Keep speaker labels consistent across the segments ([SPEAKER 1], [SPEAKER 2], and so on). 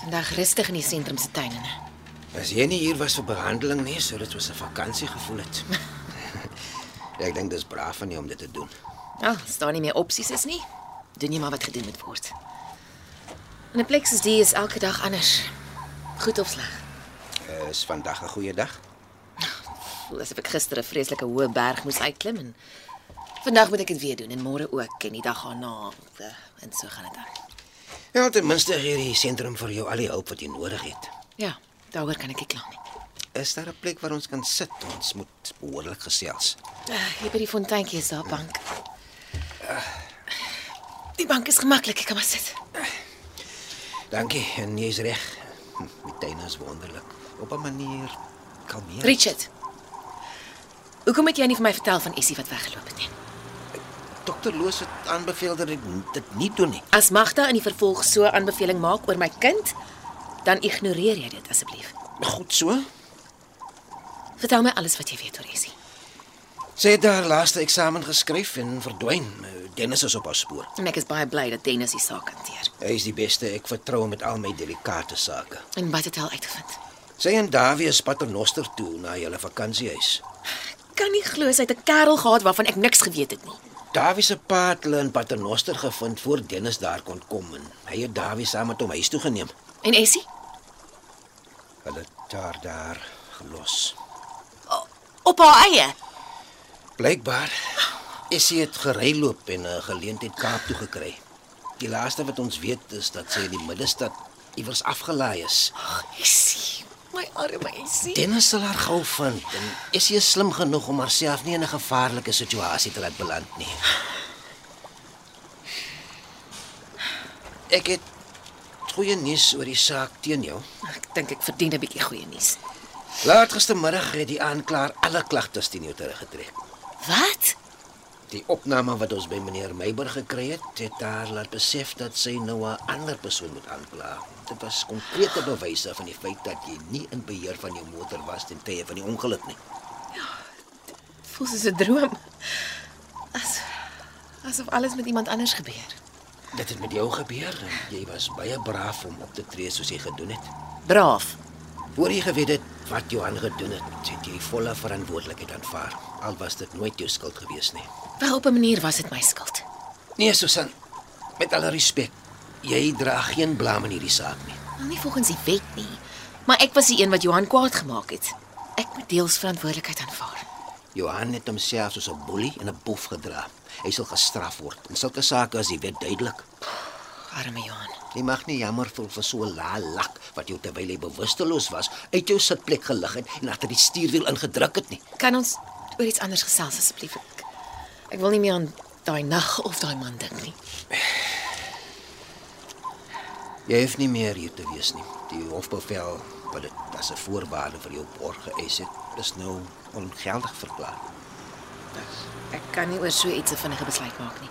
[SPEAKER 1] Vandag rustig in die sentrum se tuine. né?
[SPEAKER 2] As jy nie hier was vir behandeling nie, sou dit soos 'n vakansie gevoel het. ek dink dis braaf van jou om dit te doen.
[SPEAKER 1] Ja, staan nie meer opsies is nie. Doen jy maar wat gedoen moet word. In 'n plek soos die is elke dag anders. Goed of sleg.
[SPEAKER 2] Eh, Is vandag 'n goeie dag?
[SPEAKER 1] Voel asof ek gister 'n vreeslike hoë berg moes uitklim en vandag moet ek dit weer doen en môre ook en die dag daarna eh, en so gaan dit aan.
[SPEAKER 2] Ja, ten minste gee hierdie sentrum vir jou al die hulp wat jy nodig het.
[SPEAKER 1] Ja, daaroor kan ek nie kla nie.
[SPEAKER 2] Is daar 'n plek waar ons kan sit? Ons moet behoorlik gesels.
[SPEAKER 1] Eh, Hier by die fonteintjie is daar 'n bank. Die bank is gemaklik, ek kan maar sit.
[SPEAKER 2] Dankie, en jy's reg. Hm, Die tuin is wonderlik. Op 'n manier kalmeer.
[SPEAKER 1] Richard. Hoekom het jy nie vir my vertel van Essie wat weggeloop het nie?
[SPEAKER 2] Dokter Loos het aanbeveel dat ek dit nie doen nie.
[SPEAKER 1] As Magda in die vervolg so 'n aanbeveling maak oor my kind, dan ignoreer jy dit asseblief.
[SPEAKER 2] Goed so.
[SPEAKER 1] Vertel my alles wat jy weet oor Essie.
[SPEAKER 2] Sy het haar laaste eksamen geskryf en verdwyn. Eh, Dennis is op haar spoor.
[SPEAKER 1] En ek is baie bly dat Dennis die saak hanteer.
[SPEAKER 2] Hy is die beste. Ek vertrou hom met al my delikate sake.
[SPEAKER 1] En wat het hy al uitgevind?
[SPEAKER 2] Sy en Davie is paternoster toe na hulle vakansiehuis.
[SPEAKER 1] Ek Kan nie glo sy het 'n kerel gehad waarvan ek niks geweet het nie.
[SPEAKER 2] Davie se pa het hulle in paternoster gevind voor Dennis daar kon kom en hy het Davie saam met hom huis toe geneem.
[SPEAKER 1] En Essie?
[SPEAKER 2] Hulle het haar daar gelos.
[SPEAKER 1] Op haar eie.
[SPEAKER 2] Blykbaar is sy het geryloop en 'n geleentheid Kaap toe gekry. Die laaste wat ons weet is dat sy in die middestad iewers afgelaai is.
[SPEAKER 1] Ag, Essie. My arme Essie.
[SPEAKER 2] Dennis sal haar gou vind en is sy is slim genoeg om haarself nie in 'n gevaarlike situasie te laat beland nie. Ek het goeie nuus oor die saak teen jou.
[SPEAKER 1] Ek dink ek verdien 'n bietjie goeie nuus.
[SPEAKER 2] Laat gistermiddag het die aanklaer alle klagtes teen jou teruggetrek.
[SPEAKER 1] Wat?
[SPEAKER 2] Die opname wat ons by meneer Meiburg gekry het, het haar laat besef dat sy nou 'n ander persoon moet aankla. Dit was konkrete bewyse van die feit dat jy nie in beheer van jou motor was ten tye van die ongeluk nie.
[SPEAKER 1] Voel soos 'n droom. As asof alles met iemand anders gebeur.
[SPEAKER 2] Dit het met jou gebeur en jy was baie braaf om op te tree soos jy gedoen het.
[SPEAKER 1] Braaf.
[SPEAKER 2] Voor jy geweet het wat Johan gedoen het, het jy volle verantwoordelikheid aanvaar. Al was dit nooit jou skuld gewees nie.
[SPEAKER 1] Wel op 'n manier was dit my skuld.
[SPEAKER 2] Nee, Susan, met alle respek, jy dra geen blame in hierdie saak nie.
[SPEAKER 1] Wel nie volgens die wet nie, maar ek was die een wat Johan kwaad gemaak het. Ek moet deels verantwoordelikheid aanvaar.
[SPEAKER 2] Johan het homself soos 'n boelie en 'n boef gedra. Hy sal gestraf word. In sulke sake is die wet duidelik.
[SPEAKER 1] Arme Johan.
[SPEAKER 2] Jy mag nie jammer voel vir so 'n lae lak wat jou terwyl jy bewusteloos was uit jou sitplek gelig het en agter die stuurwiel ingedruk het nie.
[SPEAKER 1] Kan ons oor iets anders gesels asseblief? Ek, ek wil nie meer aan daai nag of daai man dink nie.
[SPEAKER 2] Jy hoef nie meer hier te wees nie. Die hofbevel wat dit as 'n voorwaarde vir jou borg geëis het, is nou ongeldig verklaar.
[SPEAKER 1] Ek kan nie oor so iets 'n vinnige besluit maak nie.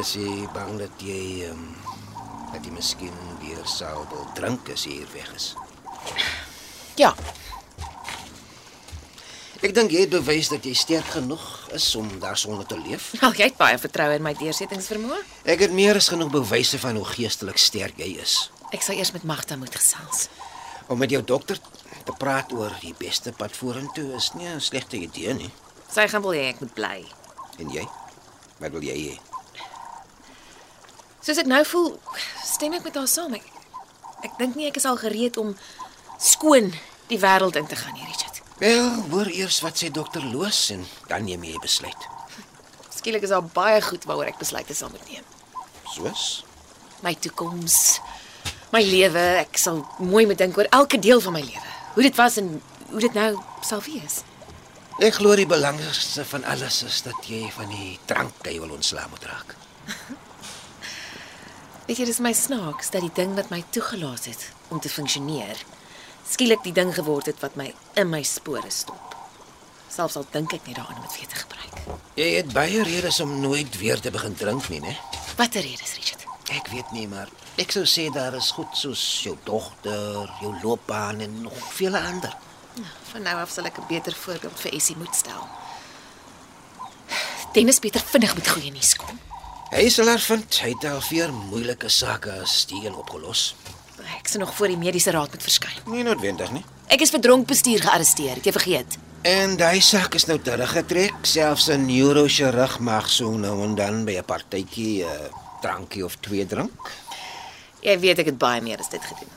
[SPEAKER 2] Is jy bang dat jy ehm um, dat jy miskien weer sal wil drink as jy hier weg is?
[SPEAKER 1] Ja,
[SPEAKER 2] Ek dink jy het bewys dat jy sterk genoeg is om daarsonder te leef.
[SPEAKER 1] wel jy het baie vertroue in my deursettingsvermoë.
[SPEAKER 2] Ek het meer as genoeg bewyse van hoe geestelik sterk jy is
[SPEAKER 1] Ek sal eers met Magda moet gesels.
[SPEAKER 2] om met jou dokter te praat oor die beste pad vorentoe is nie 'n slegte idee nie.
[SPEAKER 1] Sy gaan wil hê ek moet bly.
[SPEAKER 2] En jy? Wat wil jy hê?
[SPEAKER 1] Soos ek nou voel, stem ek met haar saam. Ek, ek dink nie ek is al gereed om skoon die wêreld in te gaan nie, Richard.
[SPEAKER 2] Wel, hoor eers wat sê dokter Loos en dan neem jy 'n besluit.
[SPEAKER 1] Skielik is daar baie goed waaroor ek besluite sal moet neem.
[SPEAKER 2] Soos?
[SPEAKER 1] My toekoms, my lewe, ek sal mooi moet dink oor elke deel van my lewe. Hoe dit was en hoe dit nou sal wees.
[SPEAKER 2] Ek glo die belangrikste van alles is dat jy van die drankduiwel ontslae moet raak.
[SPEAKER 1] Weet jy, dis my snaaks dat die ding wat my toegelaat het om te funksioneer, skielik die ding geword het wat my in my spore stop. Selfs al dink ek net daaraan om dit weer te gebruik.
[SPEAKER 2] Jy het baie redes om nooit weer te begin drink nie, né?
[SPEAKER 1] Watter redes, Richard?
[SPEAKER 2] Ek weet nie, maar ek sou sê daar is goed soos jou dogter, jou loopbaan en nog vele ander.
[SPEAKER 1] Nou, van nou af sal ek 'n beter voorbeeld vir Essie moet stel. Dennis Pieter vinnig met goeie nuus kom.
[SPEAKER 2] Hy sal haar vind. Hy het al vier moeilike sake as die een opgelos.
[SPEAKER 1] Ek sien nog voor die mediese raad moet verskyn.
[SPEAKER 2] Nie noodwendig nie.
[SPEAKER 1] Ek is vir dronk bestuur gearresteer. Het jy vergeet?
[SPEAKER 2] En daai sak is nou teruggetrek, selfs 'n neurochirurg mag so nou en dan by 'n partytjie 'n drankie of twee drink.
[SPEAKER 1] Jy weet ek het baie meer as dit gedoen.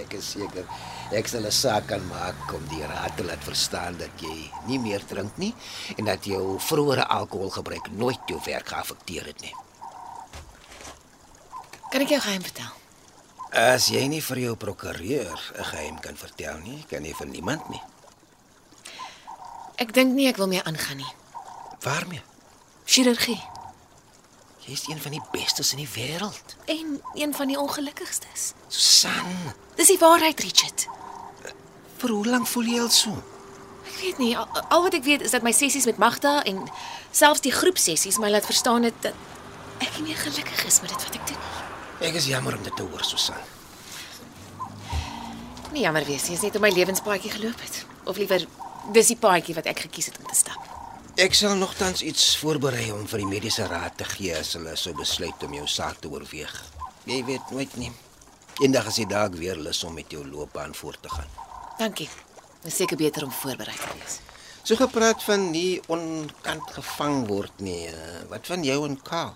[SPEAKER 2] Ek is seker ek sal 'n saak kan maak om die raad te laat verstaan dat jy nie meer drink nie en dat jou vroeëre alkoholgebruik nooit jou werk geaffekteer het nie.
[SPEAKER 1] Kan ek jou geheim vertel?
[SPEAKER 2] As jy nie vir jou prokureur 'n geheim kan vertel nie, kan jy vir niemand nie.
[SPEAKER 1] Ek dink nie ek wil meer aangaan nie.
[SPEAKER 2] Waarmee?
[SPEAKER 1] Chirurgie
[SPEAKER 2] Jy is een van die bestes in die wêreld.
[SPEAKER 1] en een van die ongelukkigstes.
[SPEAKER 2] Susan,
[SPEAKER 1] Dis die waarheid, Richard.
[SPEAKER 2] vir hoe lank voel jy al so?
[SPEAKER 1] Ek weet nie, al, al wat ek weet is dat my sessies met Magda en selfs die groepsessies my laat verstaan het dat ek nie meer gelukkig is met dit wat ek doen nie.
[SPEAKER 2] Ek is jammer om dit te hoor, Susan.
[SPEAKER 1] Nie jammer wees nie, is net op my lewenspaadjie geloop het. Of liewer dis die paadjie wat ek gekies het om te stap.
[SPEAKER 2] Ek sal nogtans iets voorberei om vir die mediese raad te gee as hulle sou besluit om jou saak te oorweeg. Jy weet nooit nie. Eendag as jy dalk weer lus om met jou loopbaan voort te gaan.
[SPEAKER 1] Dankie. Dis seker beter om voorberei te wees.
[SPEAKER 2] So gepraat van nie onkant gevang word nie. eh, Wat van jou en Karl?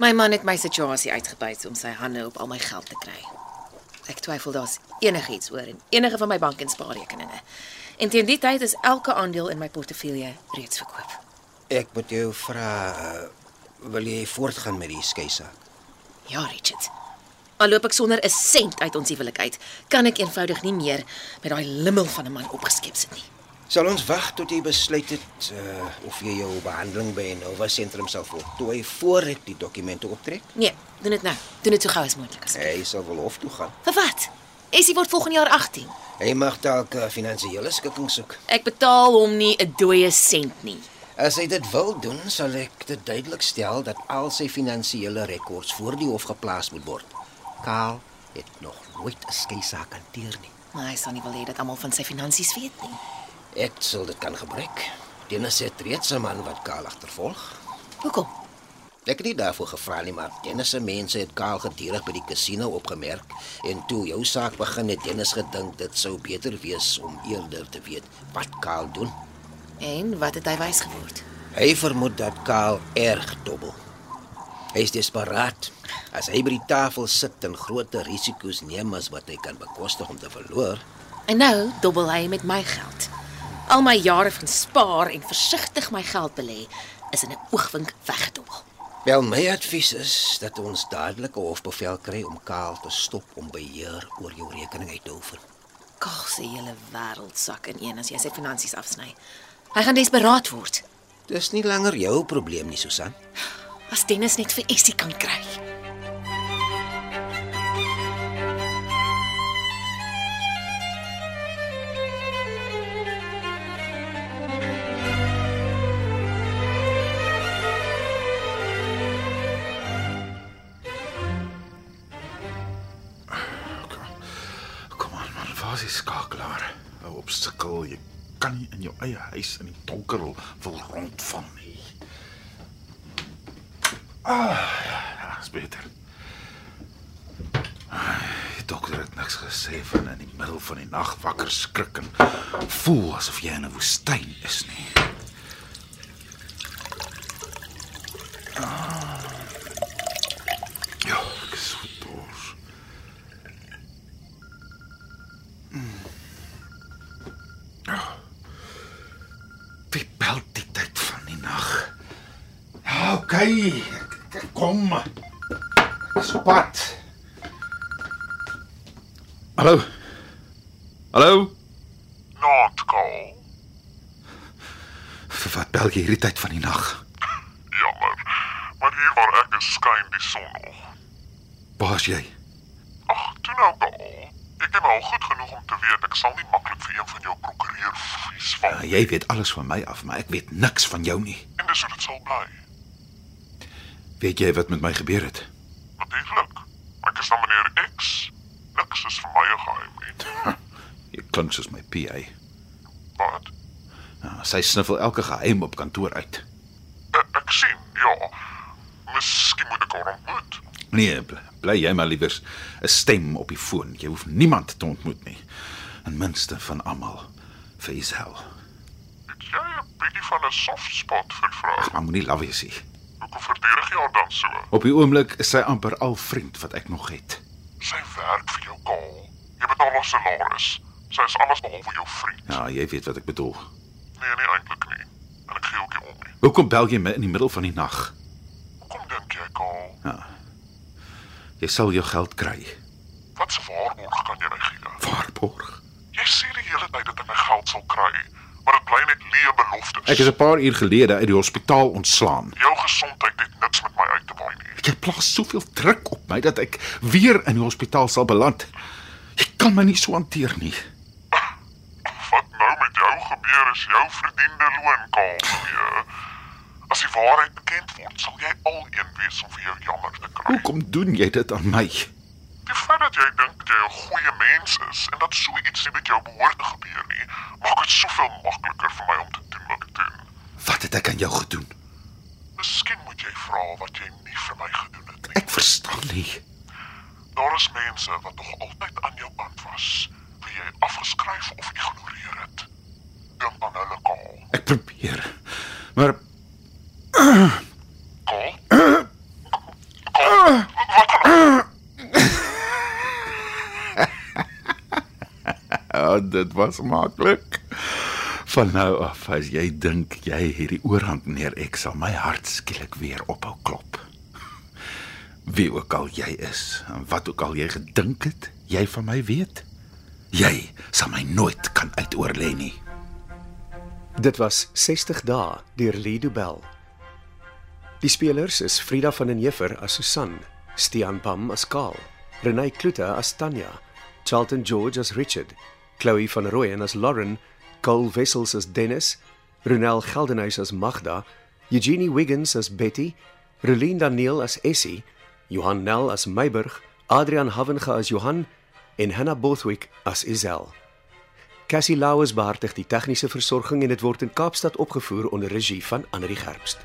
[SPEAKER 1] My man het my situasie uitgebuit om sy hande op al my geld te kry. Ek twyfel daar's enigiets oor in enige van my bank en spaarrekeninge. En teen die tyd is elke aandeel in my portefeulje reeds verkoop.
[SPEAKER 2] Ek moet jou vra, eh, wil jy voortgaan met die skei saak?
[SPEAKER 1] Ja, Richard. Al loop ek sonder 'n sent uit ons huwelik uit, kan ek eenvoudig nie meer met daai limmel van 'n man opgeskep sit nie.
[SPEAKER 2] Sal ons wag tot jy besluit het uh, of jy jou behandeling by Nova Sentrum sal voltooi voor ek die dokumente optrek?
[SPEAKER 1] Nee, doen dit nou. Doen dit so gou as moontlik asseblief.
[SPEAKER 2] Hy sal wel hof toe gaan.
[SPEAKER 1] Vir wat? Essie word volgende jaar 18.
[SPEAKER 2] Hy mag dalk 'n finansiële skikking soek.
[SPEAKER 1] Ek betaal hom nie 'n dooie sent nie.
[SPEAKER 2] As hy dit wil doen, sal ek dit duidelik stel dat al sy finansiële rekords voor die hof geplaas moet word. Karl het nog nooit 'n skei saak hanteer nie.
[SPEAKER 1] Maar hy sal nie wil hê dat almal van sy finansies weet nie.
[SPEAKER 2] Ek sal dit kan gebruik. Dennis het reeds 'n man wat Karl agtervolg.
[SPEAKER 1] Hoekom?
[SPEAKER 2] Ek het nie daarvoor gevra nie, maar Dennis se mense het Kaal gedurig by die kasino opgemerk en toe jou saak begin het Dennis gedink dit sou beter wees om eerder te weet wat Kaal doen.
[SPEAKER 1] En wat het hy wys geword?
[SPEAKER 2] Hy vermoed dat Kaal erg dobbel. Hy is desperaat. As hy by die tafel sit en groter risiko's neem as wat hy kan bekostig om te verloor,
[SPEAKER 1] En nou dobbel hy met my geld. Al my jare van spaar en versigtig my geld belê is in 'n oogwink weggedobbel.
[SPEAKER 2] wel my advies is dat ons dadelik 'n hofbevel kry om Kaal te stop om beheer oor jou rekening uit te oefen.
[SPEAKER 1] Kaal se hele wêreld sak in een as jy sy finansies afsny. Hy gaan desperaat word.
[SPEAKER 2] Dis nie langer jou probleem nie, Susan.
[SPEAKER 1] As Dennis net vir Essie kan kry.
[SPEAKER 3] Kom aan man, waar is die skakelaar? Hou op sukkel, jy kan nie in jou eie huis in die donker wil rondval nie. Ah, ja, ja, is beter. Ah, Die dokter het niks gesê van in die middel van die nag wakker skrik en voel asof jy in 'n woestyn is nie. Ah. Ja, ek is so dors. Wie bel die tyd van die nag? Ja, okay. ek- ek Kom. Spat. Hallo. Hallo.
[SPEAKER 4] Noodkool.
[SPEAKER 3] Vir wat bel jy hierdie tyd van die nag?
[SPEAKER 4] Jammer. Maar hier waar ek is skyn die son nog.
[SPEAKER 3] Waar's jy?
[SPEAKER 4] Ag, toe nou al. Ek ken al goed genoeg om te weet ek sal nie maklik vir een van jou prokureur vies val.
[SPEAKER 3] Ja, jy weet alles van my af, maar ek weet niks van jou nie.
[SPEAKER 4] En dis hoe dit sal bly.
[SPEAKER 3] Weet jy wat met my gebeur het?
[SPEAKER 4] Natuurlik. Ek is dan meneer X. Niks is vir my 'n geheim nie.
[SPEAKER 3] Jy klink soos my PA.
[SPEAKER 4] Wat?
[SPEAKER 3] Ja, sy sniffel elke geheim op kantoor uit.
[SPEAKER 4] Ek, Eh, ek sien, ja. Miskien moet ek haar ontmoet.
[SPEAKER 3] Nee, bl- bly jy maar liewer 'n stem op die foon. Jy hoef niemand te ontmoet nie. En minste van almal vir Isel.
[SPEAKER 4] Het jy 'n bietjie van 'n soft spot vir vroue?
[SPEAKER 3] Maar moenie laf wees nie.
[SPEAKER 4] Hoekom verdedig jy haar dan so?
[SPEAKER 3] Op die oomblik is sy amper al vriend wat ek nog het.
[SPEAKER 4] Sy werk vir jou, Kaal. Jy betaal haar salaris. Sy is alles behalwe jou vriend.
[SPEAKER 3] Ja, jy weet wat ek bedoel.
[SPEAKER 4] Nee, nie eintlik nie. En ek gee ook nie om nie.
[SPEAKER 3] Hoekom bel jy my in die middel van die nag?
[SPEAKER 4] Hoekom dink jy, Kaal?
[SPEAKER 3] Jy sal jou geld kry.
[SPEAKER 4] Wat se waarborg kan jy my gee?
[SPEAKER 3] Waarborg.
[SPEAKER 4] Jy sê die hele tyd dat ek my geld sal kry, maar dit bly net leë beloftes.
[SPEAKER 3] Ek is 'n paar uur gelede uit die hospitaal ontslaan.
[SPEAKER 4] Jou gesondheid het niks met my uit te waai nie.
[SPEAKER 3] Jy plaas soveel druk op my dat ek weer in die hospitaal sal beland. Jy kan my nie so hanteer nie.
[SPEAKER 4] Wat nou met jou gebeur is jou verdiende loon kaal. Nee. As die waarheid bekend word, sal jy al een wees om vir jou jammer te kry.
[SPEAKER 3] Hoekom doen jy dit aan my?
[SPEAKER 4] Die feit dat jy dink jy 'n goeie mens is en dat so iets nie met jou behoort te gebeur nie, maak dit soveel makliker vir my om te doen wat ek doen.
[SPEAKER 3] Wat het ek aan jou gedoen?
[SPEAKER 4] Miskien moet jy vra wat jy nie vir my gedoen het nie.
[SPEAKER 3] Ek verstaan nie.
[SPEAKER 4] Daar is mense wat nog altyd aan jou kant was, wie jy afgeskryf of ignoreer het. Dink aan hulle kaal.
[SPEAKER 3] Ek probeer. Maar
[SPEAKER 4] Kaal? Kaal? Wat gaan aan?
[SPEAKER 3] oh, dit was maklik. Van nou af as jy dink jy hierdie oorhand neer ek sal my hart skielik weer ophou klop. Wie ook al jy is en wat ook al jy gedink het, jy van my weet. Jy sal my nooit kan uitoorlê nie.
[SPEAKER 5] Dit was 60 dae deur Lido Bell. Die spelers is Frida van den Heever as Susan, Stean Pam as Karl, Renay Klute as Tanya, Charlton George as Richard, Chloe van Rooyen as Lauren, Cole Wessels as Dennis, Ronel Geldenhuys as Magda, Eugenie Wiggins as Betty, Relien Daniel as Essie, Johan Nel as Meiburg, Adrian Havenga as Johan en Hannah Bothwick as Isel. Cassie Lauers behartig die tegniese versorging en dit word in Kaapstad opgevoer onder regie van Anri Gerbst.